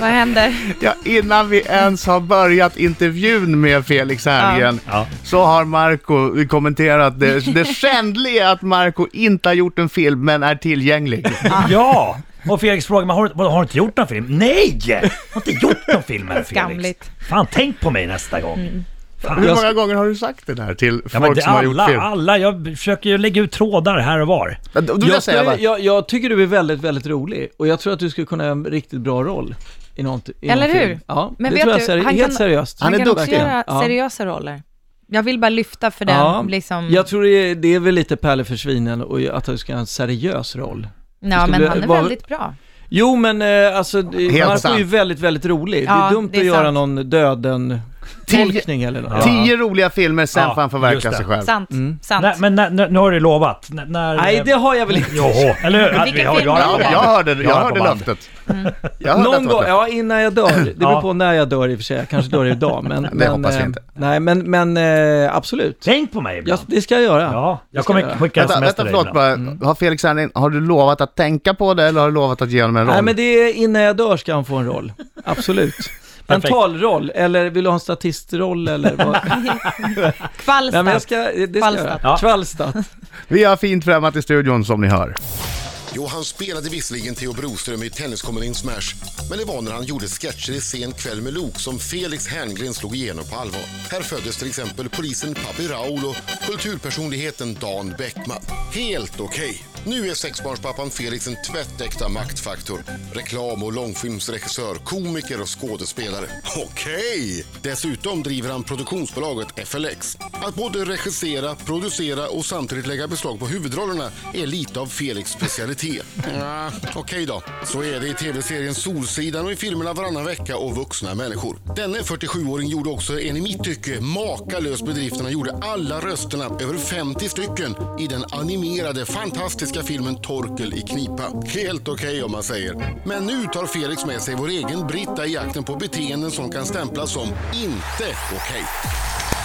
Vad händer? Ja, innan vi ens har börjat intervjun med Felix Herngren Ja. så har Marco kommenterat det, det skändliga att Marco inte har gjort en film men är tillgänglig. Ah. Ja! Och Felix frågar mig, har, du- vadå, har du inte gjort någon film? Nej! Jag har inte gjort någon film än Felix. Skamligt. Fan, tänk på mig nästa gång. Mm. Fan, Hur jag, många gånger har du sagt det där till ja, men folk det, som har gjort alla, film? alla, jag försöker ju lägga ut trådar här och var. Ja, Då vill jag jag, säga skulle- bara, jag, jag tycker du är väldigt, väldigt rolig och jag tror att du skulle kunna göra en riktigt bra roll i någon, i Eller någon hur? Film. Ja, Men det vet tror jag du, seri- han helt kan- seriöst. Han är kan också duktig. göra Ja. seriösa roller. Jag vill bara lyfta för den, Ja, liksom... Jag tror det är, det är väl lite Pelle för svinen och att du ska ha en seriös roll. ja, men skulle- han är var- väldigt bra. Jo, men eh, alltså, eh, Marco är sant. ju väldigt, väldigt rolig. det Ja, är dumt det är att göra sant. någon döden-tolkning eller något. tio roliga filmer, sen Ja, får han förverkliga just det. sig själv. Sant, sant. Nej, men när, när, nu har du lovat. När, när, Nej, det har jag väl inte. Joho, eller hur? Att vi har- film är vi har- Ja, det? jag hörde, Jag jag har på Mm. hörde band. löftet. Jag hörde att Någon det var gång, ett löfte. ja innan jag dör. Det beror Ja. på när jag dör i och för sig. Jag kanske dör idag, men... men, hoppas vi eh, inte. Nej, men, men eh, absolut. Tänk på mig Jag, ibland. det ska jag göra. Ja, jag Det ska kommer jag. skicka Vänta, sms vänta till dig förlåt ibland. bara. Har Felix Herngren, har du lovat att tänka på det eller har du lovat att ge honom en roll? Nej, men det är innan jag dör ska han få en roll. Absolut. En Perfekt. talroll, eller vill du ha en statistroll eller vad? Nej, Kvalstat. men jag ska, det ska jag Kvalstad. göra. Ja. Kvalstad. Vi har fint främmat i studion som ni hör. Jo, han spelade visserligen Theo Broström i Tenniskomedin Smash, men det var när han gjorde sketcher i Sen kväll med Luke som Felix Herngren slog igenom på allvar. Här föddes till exempel polisen Papi Raul och kulturpersonligheten Dan Bäckman. Helt okej. Nu är sexbarnspappan Felix en tvättäkta maktfaktor. Reklam och långfilmsregissör, komiker och skådespelare. Okej! Dessutom driver han produktionsbolaget FLX. Att både regissera, producera och samtidigt lägga beslag på huvudrollerna är lite av Felix specialitet. Nja, Okej då. Så är det i tv-serien Solsidan och i filmerna Varannan vecka och Vuxna människor. Denne 47-åring gjorde också en i mitt tycke makalös bedrift när han gjorde alla rösterna, över 50 stycken, i den animerade fantastiska filmen Torkel i knipa. Helt okej om man säger. Men nu tar Felix med sig vår egen Britta i jakten på beteenden som kan stämplas som inte okej.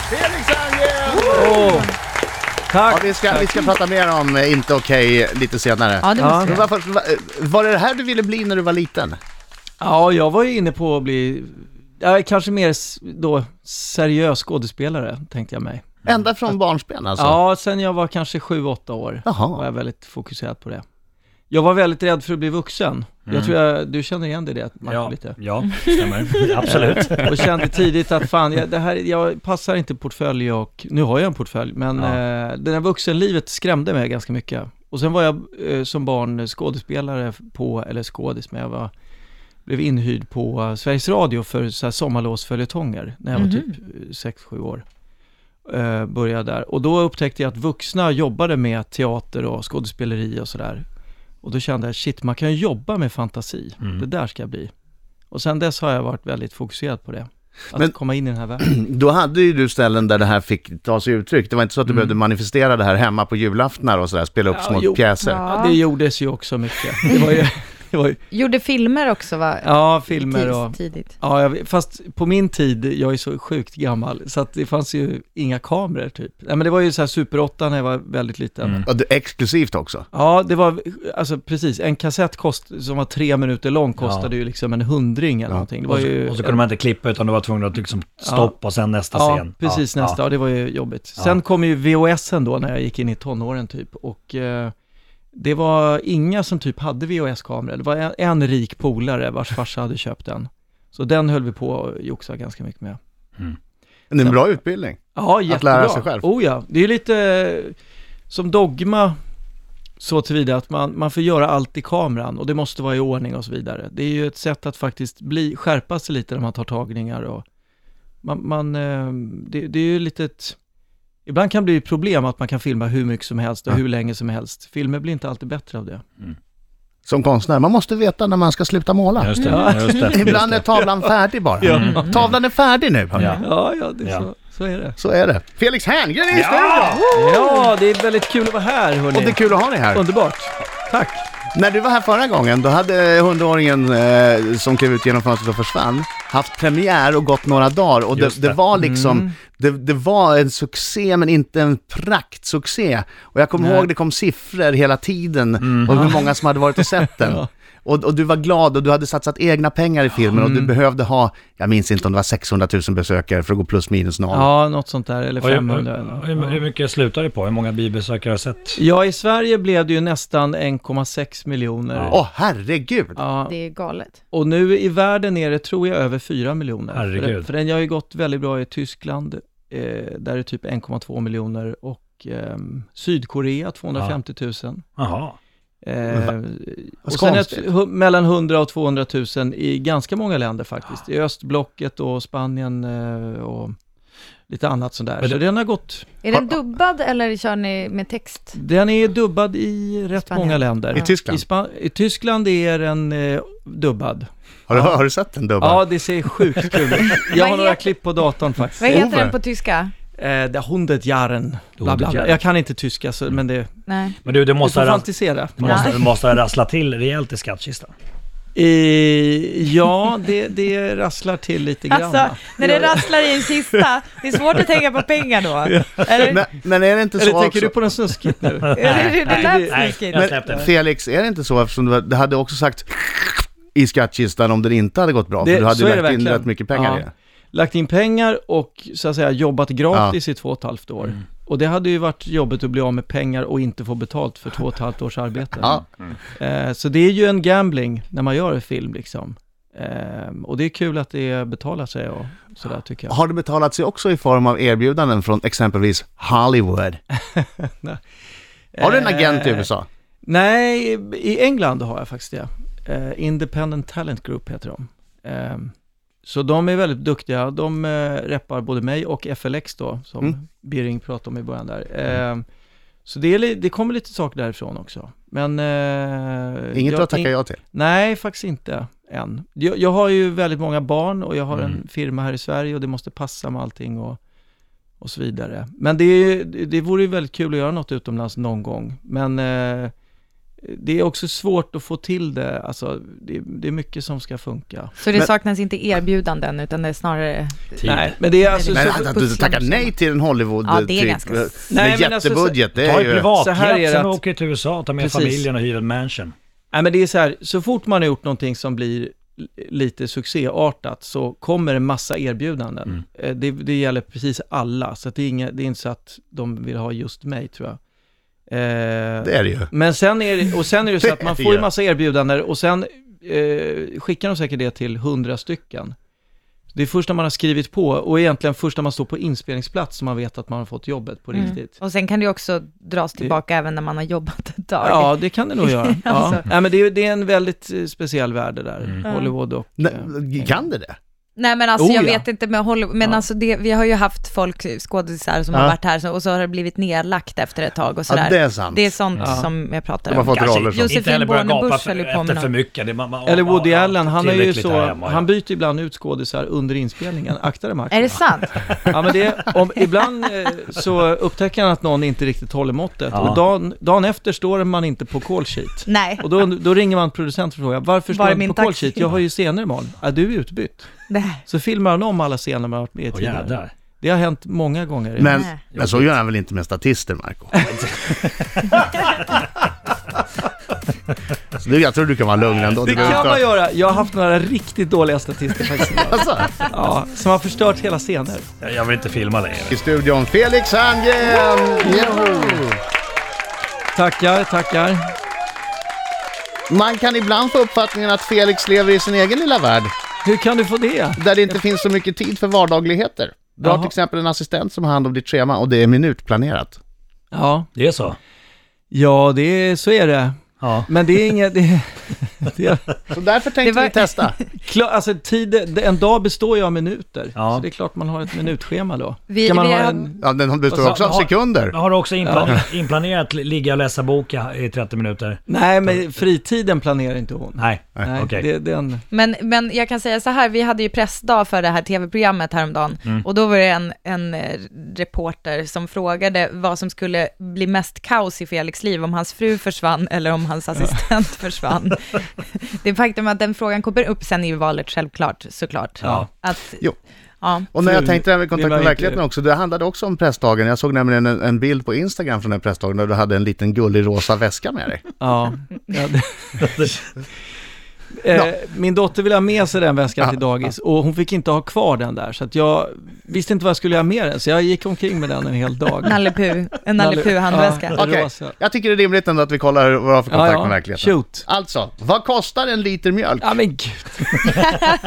Felix Herngren! Åh. Ja, Tack. vi, ska, vi ska prata mer om eh, Inte okej eh, lite senare. Ja, det måste Men jag. varför, va- eh, var det det här du ville bli när du var liten? Ja, jag var ju inne på att bli, ja, kanske mer s- då seriös skådespelare, tänkte jag mig. Ända från barnsben alltså? Ja, sen jag var kanske 7-8 år Jaha. var jag väldigt fokuserad på det. Jag var väldigt rädd för att bli vuxen. Jag tror jag, du känner igen dig i det, Marco, Ja, lite. ja, stämmer. Absolut. Och kände tidigt att fan, jag, det här, jag passar inte portfölj och, nu har jag en portfölj, men Ja. eh, det där vuxenlivet skrämde mig ganska mycket. Och sen var jag eh, som barn skådespelare på, eller skådis, men jag var, blev inhyrd på eh, Sveriges Radio för så här sommarlovsföljetonger när jag var typ 6-7 år. Eh, började där. Och då upptäckte jag att vuxna jobbade med teater och skådespeleri och sådär. Och då kände jag, shit, man kan ju jobba med fantasi. Det där ska jag bli. Och sen dess har jag varit väldigt fokuserad på det. Att Men- komma in i den här världen. Då hade ju du ställen där det här fick ta sig uttryck. Det var inte så att du behövde manifestera det här hemma på julaftnar och sådär, spela upp Ja, små jo. pjäser. Ja. Det gjordes ju också mycket. Det var ju, det var ju Gjorde filmer också, va? ja, filmer och... Tids- Tidigt. Ja, jag, fast på min tid, jag är så sjukt gammal, så att det fanns ju inga kameror typ. Nej, men det var ju så här Super 8 när jag var väldigt liten. Mm. Och det- exklusivt också. Ja, det var, alltså precis, en kassett kost, som var tre minuter lång kostade ju liksom en hundring eller någonting. Det var Och så, ju... och så kunde man inte klippa utan du var tvungen att liksom stoppa och sen nästa Ja, scen. precis Ja, nästa. Ja. ja. det var ju jobbigt. Sen kom ju VHSen då när jag gick in i tonåren typ och eh, det var inga som typ hade VHS-kameror. Det var en, en rik polare vars farsa hade köpt den. Så den höll vi på och joxa ganska mycket med. Det är en bra utbildning. Ja, jättebra. lära sig själv. Oh ja, det är ju lite eh, som dogma så tillvida att man, man får göra allt i kameran och det måste vara i ordning och så vidare. Det är ju ett sätt att faktiskt bli, skärpa sig lite när man tar tagningar och man, man eh, det, det är ju lite ett, ibland kan det bli ett problem att man kan filma hur mycket som helst och hur länge som helst. Filmer blir inte alltid bättre av det. Som konstnär, man måste veta när man ska sluta måla. Just det, just det. Ibland är tavlan färdig bara. Mm. Tavlan är färdig nu, hörni. Ja. Ja, ja, det, Ja. Så, så är det. Så är det. Felix Herngren är i Ja! studion! Ja, det är väldigt kul att vara här hörni. Och det är kul att ha dig här. Underbart. Tack. När du var här förra gången, då hade hundraåringen eh, som klev ut genom fönstret och försvann haft premiär och gått några dagar och det, Just det det. var liksom, Mm. det, det var en succé men inte en Mm. praktsuccé. Och jag kommer ihåg det kom siffror hela tiden och hur många som hade varit och sett den. Och, och du var glad och du hade satsat egna pengar i filmen och Mm. du behövde ha, jag minns inte om det var 600 000 besökare för att gå plus minus noll. Ja, något sånt där, eller Och hur- 500 eller hur, hur, något. hur mycket slutar det på? Hur många bibesökare har jag sett? Ja, i Sverige blev det ju nästan 1,6 miljoner. Åh herregud! Ja, Det är galet. och nu i världen är det, tror jag, över 4 miljoner. För, Herregud. den- för den har ju gått väldigt bra i Tyskland, eh, där är det typ 1,2 miljoner och ehm, Sydkorea 250 000. Jaha. Eh, och Vad sen ett, konstigt. hu- mellan 100 och 200 000 i ganska många länder faktiskt. I östblocket och Spanien eh, och lite annat sådär. Men Så det- den har gått. Är den dubbad eller kör ni med text? Den är dubbad i rätt Spanien. många länder. I Tyskland? I, Spa- I Tyskland är den eh, dubbad. Har du, har du sett den dubben? Ja, det ser sjukt kul ut. Jag har Vad några heter- klipp på datorn faktiskt. Vad heter Ove. den på tyska? Eh, det Hundetjaren. Bla, bla, bla. Hundetjaren. Jag kan inte tyska, Mm. så, men det... Nej. Men du, du Du måste, får ha fantisera. du måste, du måste ha rasslat till rejält i skattkistan. Eh, ja, det, det rasslar till lite grann. Alltså, när det rasslar i en kista, det är svårt att tänka på pengar då. Eller, Men, men är det inte så Eller tänker också- du på den snuskigt nu? det, det lät Nej, snuskigt. jag släppte Men det. Felix, är det inte så eftersom du, det hade också sagt i skattkistan om det inte hade gått bra? Det- för du hade så är ju det lagt in verkligen. rätt mycket pengar Ja. i det. Lagt in pengar och så att säga jobbat gratis i två och ett halvt år. Mm. Och det hade ju varit jobbigt att bli av med pengar och inte få betalt för två och ett halvt års arbete. Ja. Eh, så det är ju en gambling när man gör en film liksom. Eh, och det är kul att det betalar sig och sådär tycker jag. Har det betalat sig också i form av erbjudanden från exempelvis Hollywood? Har du en agent i Eh, USA? Nej, i England har jag faktiskt det. Eh, Independent Talent Group heter de. Eh, så de är väldigt duktiga. De eh, reppar både mig och FLX då, som Mm. Birring pratade om i början där. Eh, så det, är, li- det kommer lite saker därifrån också. Men... Eh, Inget du har tackat ja till? Nej, faktiskt inte än. Jag, jag har ju väldigt många barn och jag har en firma här i Sverige och det måste passa med allting och, och så vidare. Men det, är- det vore ju väldigt kul att göra något utomlands någon gång. Men eh, det är också svårt att få till det. Alltså, det, det är mycket som ska funka. Så det Men- saknas inte erbjudanden, utan det är snarare... Nej, men det är alltså... Men så- att att du tackar nej till en Hollywood Ja, det är typ, ganska- eh, med Nej, men alltså, jättebudget, det Ta är ett ju... Så här är privatjet, det sen att- åker till USA, ta med Precis. familjen och hyr en mansion. Nej, men det är så här, så fort man har gjort någonting som blir l- lite succéartat så kommer en massa erbjudanden. Mm. Eh, Det, det gäller precis alla, så att det, är inga, det är inte så att de vill ha just mig tror jag. Eh, Det är det ju. Men sen är det, och sen är det så att man Det får ju gör. massa erbjudanden och sen eh, skickar de säkert det till hundra stycken. Det är först när man har skrivit på och egentligen först när man står på inspelningsplats som man vet att man har fått jobbet Mm. på riktigt. Och sen kan det ju också dras tillbaka även när man har jobbat ett tag. Ja, det kan det nog göra. Ja. Alltså. Nej, men det, är, det är en väldigt eh, speciell värld det där, Mm. Hollywood och... eh, Nej, Kan det det? Nej men alltså Oh, jag ja. vet inte med Hollywood, men Ja. alltså det, vi har ju haft folk, skådisar som Ja. har varit här så- och så har det blivit nedlagt efter ett tag och sådär. Ja, det är sant. Det är sånt Ja. som jag pratar De har om. fått Kanske roller som... Josefin inte heller börja Bornebusch gapa för, höll ju på med efter för något. mycket. Det är man, man, Eller man- Woody man- Allen, han, har ju tillräckligt så, här hemma, ja. han byter ibland ut skådisar under inspelningen. Akta dig Mark. Är det sant? Ja, men det, om, ibland eh, så upptäcker han att någon inte riktigt håller måttet Ja. och dagen, dagen efter står man inte på call sheet. Nej, Och då, då ringer man producenten och frågar, varför står Var är du inte min på call taxi? sheet? Jag har ju scener imorgon. Ja, du är utbytt. Nej. Så filmar han om alla scener man har varit med i Åh, tidigare. jädrar. Det har hänt många gånger. Men, Nej. men så gör han väl inte med statister, Marco? så du, jag tror du kan vara lugn ändå. det Du behöver kan inte- man göra. Jag har haft några riktigt dåliga statister faktiskt. Alltså, Ja, som har förstört hela scener. Jag- Jag vill inte filma längre. I studion Felix Herngren! Yahoo! Tackar, tackar. Man kan ibland få uppfattningen att Felix lever i sin egen lilla värld, Hur kan du få det? där det inte finns så mycket tid för vardagligheter. Du har Jaha. till exempel en assistent som har hand om ditt schema och det är minutplanerat. Ja, Det är så? ja det är, så är det. Ja. Men det är inget... Det, det, Så därför tänkte Det var- vi testa. klar, alltså, tid, en dag består ju av minuter. Ja. Så det är klart man har ett minutschema då. Vi- Ska man vi ha har- en, Ja, den består så- också av har- sekunder. Har du också inplan- inplanerat li- ligga och läsa bok i- i 30 minuter? nej, men fritiden planerar inte hon. Nej, Nej, okej. det, den, Men, men jag kan säga så här, vi hade ju pressdag för det här tv-programmet häromdagen och då var det en, en eh, reporter som frågade vad som skulle bli mest kaos i Felix liv, om hans fru försvann eller om hans assistent försvann. det faktum att den frågan kommer upp sen i valet självklart, såklart. Ja. Att, Jo. Ja. Och när jag Fru, tänkte det här med det kontakt var med inte- verkligheten också, det handlade också om pressdagen. Jag såg nämligen en, en bild på Instagram från den pressdagen där du hade en liten gullig rosa väska med dig. ja, ja, det, Eh, min dotter ville ha med sig den väskan till dagis och hon fick inte ha kvar den där. Så att jag visste inte vad jag skulle göra med den, så jag gick omkring med den en hel dag. Nalle Puh, en Nalle Puh-handväska. Ja, Okej, rosa. jag tycker det är rimligt ändå att vi kollar vad du har för kontakt med verkligheten. Shoot. Alltså, vad kostar en liter mjölk? Ja men gud.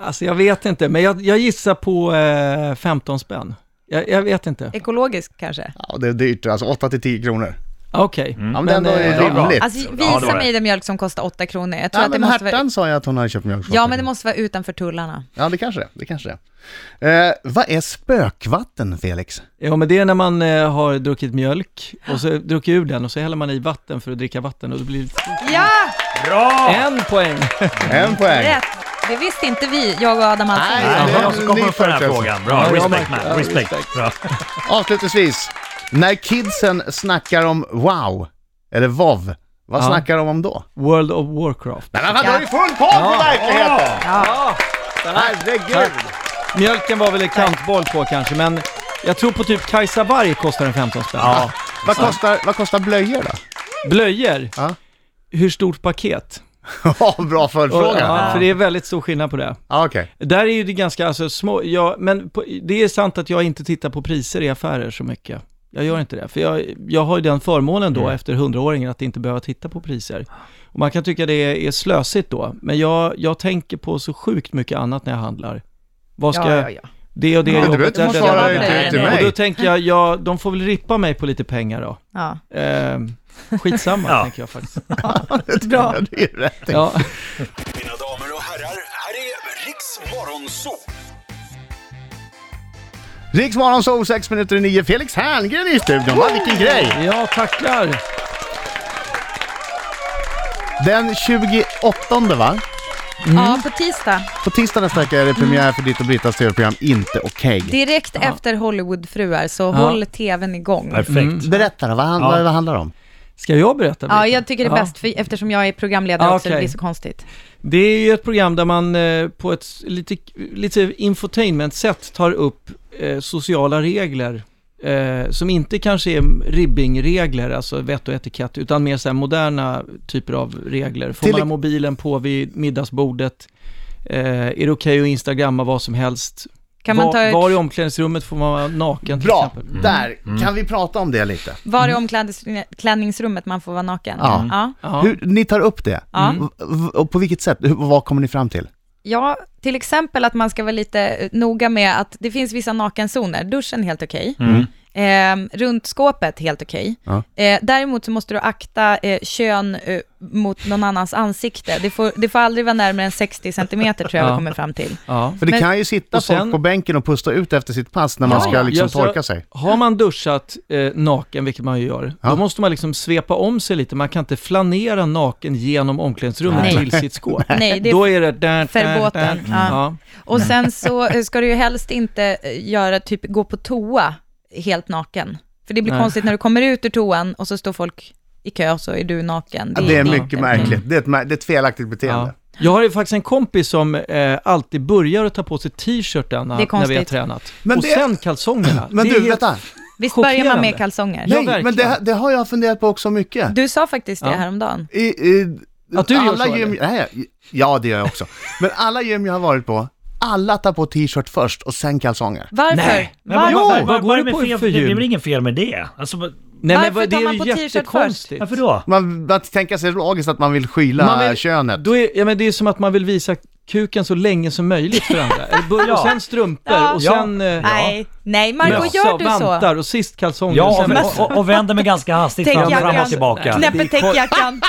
alltså jag vet inte, men jag, jag gissar på eh, 15 spänn. Jag, jag vet inte. Ekologisk kanske? Ja, det är dyrt, alltså 8-10 kronor. Ah, Okej. Ja, men, det är eh, ändå rimligt. Alltså Ja, det visa var det. mig den mjölk som kostar 8 kronor. Jag tror Ja, att det men måste Hertan vara... sa ju att hon hade köpt mjölk. för Ja, åtta men det kronor. måste vara utanför tullarna. Ja, det kanske det. Det kanske det. Eh, vad är spökvatten, Felix? Ja, men det är när man eh, har druckit mjölk och så druckit ur den och så häller man i vatten för att dricka vatten och det blir Ja, Bra! en poäng. En poäng. rätt! Det visste inte vi, jag och Adam alltså. Alsing. Nej. Det det är var någon som en kom ny upp med den här företeelse. frågan. Bra, Ja, jag respect märker. man. Ja, Respect. respect. Bra. Avslutningsvis, när kidsen snackar om wow, eller vov, vad Ja. snackar de om då? World of Warcraft. Nej, men han har ju full koll på verkligheten! Ja. Herregud! Mjölken var väl en kantboll på kanske, men jag tror på typ Kajsa Warg kostar en 15 spänn. Ja. Vad kostar, vad kostar blöjor då? Blöjor, Ja. hur stort paket? Ja, Bra Och- följdfråga. Ja, för det är väldigt stor skillnad på det. Ja, okej. Där är ju det ganska, alltså små, ja, men på, det är sant att jag inte tittar på priser i affärer så mycket. Jag gör inte det, för jag, jag har ju den förmånen då efter hundraåringen att inte behöva titta på priser. Och man kan tycka det är slösigt då, men jag, jag tänker på så sjukt mycket annat när jag handlar. Vad ska, Ja, ja, ja. det och det Ja, du jobbet, behöver inte det och svara det. till- till mig. Och då tänker jag, ja, de får väl rippa mig på lite pengar då. Ja. Eh, skitsamma, Ja. tänker jag faktiskt. Bra. Ja, det är ju rätt. Ja. Mina damer och herrar, här är Riks Morgonzoo! Riks Morgonzoo, 6 minuter i 9. Felix Herngren är i studion. Va, Mm. vilken grej! ja, tackar. Den 28 va? ja, på tisdag, På tisdag nästa vecka är det premiär för ditt och Brittas tv-program Inte okej. direkt efter Hollywoodfruar, så håll tvn igång. Perfekt. Berätta då, vad, han, vad, vad handlar det om? Ska jag berätta? Ja, Brita? jag tycker det är bäst, för, eftersom jag är programledare Ja, också, det okej. blir så konstigt. Det är ju ett program där man eh, på ett s- lite, lite infotainment-sätt tar upp eh, sociala regler eh, som inte kanske är ribbingregler, alltså vett och etikett, utan mer så här moderna typer av regler. Får Till- man ha mobilen på vid middagsbordet? Eh, är det okej att instagramma vad som helst? Kan man var, ta ut- var i omklädningsrummet får man vara naken till Bra, Mm. exempel? där kan vi prata om det lite. Var är omklädningsrummet man får vara naken? Ja. ja. Mm. Mm. Ja. Hur, ni tar upp det. Ja. V- v- Och på vilket sätt? Hur- Vad kommer ni fram till? Ja, till exempel att man ska vara lite eh, noga med att det finns vissa nakenzoner. Duschen helt okej. Eh, runt skåpet helt okej. Mm. Ja. Eh, däremot så måste du akta eh, kön eh, mot någon annans ansikte. Det får, det får aldrig vara närmare än 60 centimeter tror jag vi Ja. kommer fram till. Ja. För det Men- kan ju sitta och sen- folk på bänken och pusta ut efter sitt pass när man ska liksom Ja, så torka sig. Har man duschat eh, naken, vilket man ju gör, Ja. då måste man liksom svepa om sig lite. Man kan inte flanera naken genom omklädningsrummet Nej. till sitt skåp. Nej, det är då är det... Där, Verboten, ja. Ja. Och sen så eh, ska du ju helst inte eh, göra, typ gå på toa helt naken. För det blir Nej. konstigt när du kommer ut ur toan och så står folk i kö och så är du naken. Ja, det är mycket inte- märkligt. Det är, ett, mär- det är ett felaktigt beteende. Mm. Ja. Jag har ju faktiskt en kompis som eh, alltid börjar att ta på sig t-shirten Det är när, när vi har konstigt. tränat. Men och det- sen kalsongerna. Men Det du, är- vänta. Visst börjar man Chockerande. med kalsonger? Ja, Nej, men verkligen. det, det har jag funderat på också mycket. Du sa faktiskt det Ja. häromdagen. I, i, Att du gör alla så, gym, nej, Ja, det gör jag också. men alla gym jag har varit på, alla tar på t-shirt först och sen kalsonger. Varför? Nej. Men Varför? vad, vad, Vad vad, går vad är det det på med fel? för Det blir gym? väl ingen fel med det? Alltså, vad- Nej, Varför men vad- det tar är man ju på t-shirt först? jättekonstigt. varför då? Man, man tänker sig logiskt att man vill skyla Man vill- könet. Då är, ja, men det är som att man vill visa kuken så länge som möjligt för andra. Eller börja, Och sen strumpor Ja. och Ja. sen... eh, Nej, nej Marco, mössa, gör du så? vantar och sist kalsonger. och Ja, sen och, och, och vänder mig ganska hastigt Tänk fram, jag fram kan- och tillbaka. Nej. Knäpper täckjackan.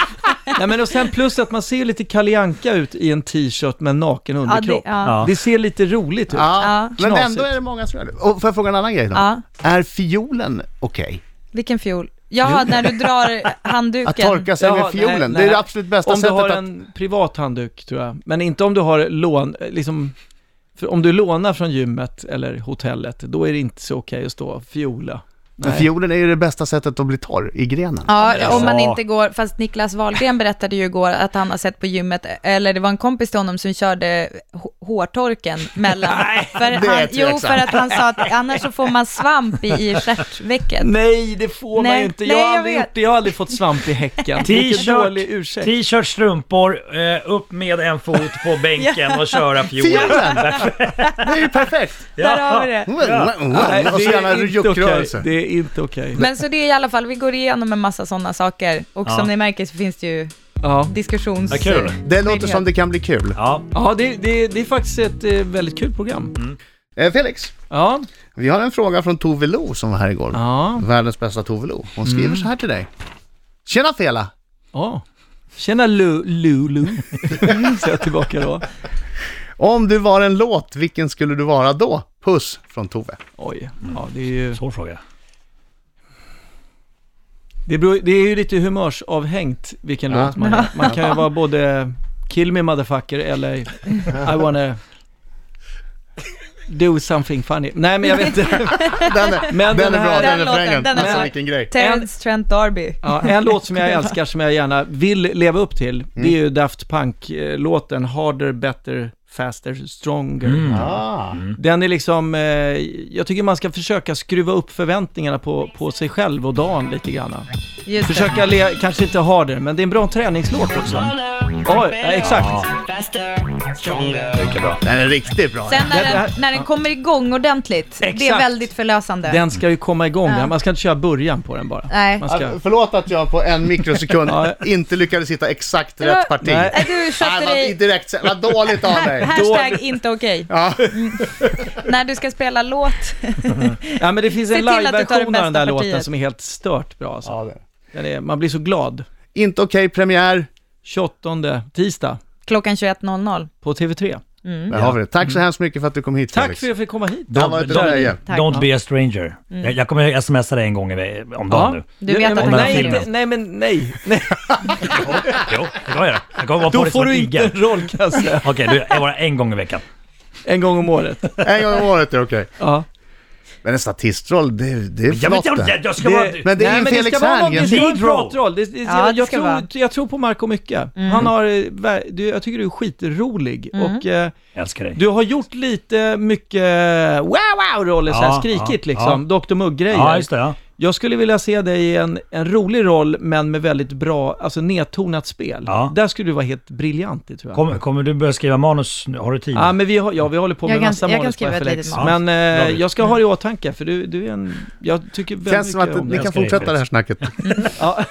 Nej men och sen plus att man ser lite kalianka ut i en t-shirt med naken Ja, det, underkropp. det, ja. Ja. ser lite roligt ut. Ja, Ja. men Knasigt. ändå är det många som gör det. Och får jag fråga en annan grej då? Ja. Är fiolen okej? Vilken fiol? Jaha, när du drar handduken. Att torka sig Jaha, med fiolen, nej, det är nej. det absolut bästa Om du sättet har att... en privat handduk tror jag, men inte om du har lån, eh, liksom, för om du lånar från gymmet eller hotellet, då är det inte så okej att stå och fiola. Men fiolen är ju det bästa sättet att bli torr i grenen. Ja, om man Ja. inte går, fast Niklas Wahlgren berättade ju igår att han har sett på gymmet, eller det var en kompis till honom som körde h- hårtorken mellan. för det är han, jo, tveksamt. för att han sa att annars så får man svamp i, i stjärtvecket. Nej, det får man Nej, ju inte. Jag, nej, har jag aldrig vet. gjort det. jag har aldrig fått svamp i häcken. Vilken T-shirt, dålig ursäkt. t-shirt, strumpor, eh, upp med en fot på bänken och köra fiolen. Fiolen! Det är ju perfekt! Där har vi det. Nej, Och så det är gärna inte juckrörelse. okej. Det är inte okej. Men så det är i alla fall, vi går igenom en massa sådana saker. Och Ja. som ni märker så finns det ju Ja, diskussions... Vad kul. Det låter som det kan bli kul. Ja, ja det, det, det är faktiskt ett eh, väldigt kul program. Eh, Felix, Ja, vi har en fråga från Tove Lo som var här igår. ja, Världens bästa Tove Lo. Hon skriver så här till dig. Tjena Fela! ja. Tjena Lu- Lulu, säger jag tillbaka då. Om du var en låt, vilken skulle du vara då? Puss från Tove. Oj, ja det är ju... svår fråga. Det, beror, det är ju lite humörsavhängt vilken Ja. låt man gör. Man kan ju vara både kill me motherfucker eller I wanna do something funny. Nej men jag vet inte. Den är, Men den den är bra, här- den den refrängen. låten, den är Alltså bra. vilken grej. Terrence Trent D'Arby. Ja, en låt som jag älskar som jag gärna vill leva upp till. Mm. Det är ju Daft Punk-låten Harder, Better, Faster, Stronger. Mm. Ah. Den är liksom, eh, jag tycker man ska försöka skruva upp förväntningarna på, på sig själv och dagen lite grann. Just det. Försöka le, kanske inte ha det, men det är en bra träningslåt också. Ja, exakt. Den är riktigt bra. Sen när Det- det här- den, när den kommer igång ordentligt, det är Exakt. väldigt förlösande. Den ska ju komma igång, där. man ska inte köra början på den bara. Nej. Man ska, Ah, Förlåt att jag på en mikrosekund Ja. inte lyckades hitta exakt var- rätt parti. Nej. Nej, Du köpte Nej, vad, dig... direkt, vad dåligt av mig. Hashtag inte okej. Ja. När du ska spela låt. ja, men det finns en Se till att du tar det live-version av den bästa där låten partiet. som är helt stört bra. Alltså. Ja, det. Den är, man blir så glad. Inte okej premiär. 28 tisdag Klockan 21.00. på TV3. Där har vi det. Tack så hemskt mycket för att du kom hit Tack för Felix. att jag fick komma hit. Det har varit ett Don't- nöje. Tack, Don't Mom. be a stranger. Mm. Jag, jag kommer smsa dig en gång i- om dagen nu. Du vet att nej, den här nej, filmen- inte- nej, men nej. nej. Jo, det kommer jag göra. Jag kommer vara på Då dig som får en du inte igel. en rollkasse. Okej, du, jag bara en gång i veckan. En gång om året. En gång om året är okej. Ja. Men en statistroll, det, det är Jag, flott vet, jag, det. jag, jag ska Det- vara... Men det är Nej, ju men det Felix ska vara någon, det ska vara en Lead role. pratroll. Det, det, Ja, det jag, jag, ska vara. Mm. tror, jag tror på Marco mycket. Han har eh, ver- du, jag tycker du är skitrolig och eh, Jag älskar dig. du har gjort lite mycket wow-wow-roller, så Ja, här skrikigt ja, liksom. Dr Mugg-grejer. Ja, just det. Ja. Jag skulle vilja se dig i en, en rolig roll, men med väldigt bra, alltså nedtonat spel. Ja. Där skulle du vara helt briljant i tror jag. Kommer, kommer du börja skriva manus nu? Har du tid? Ja, men vi, har, ja, vi håller på Jag med kan- massa jag kan manus på skriva ett FLX. litet manus. Men Bra, eh, Rick. jag ska ha det i åtanke, för du, du är en... Jag tycker väldigt Mm. Känns som mycket att om ni dig. kan Älskar dig, fortsätta det här snacket. Ja.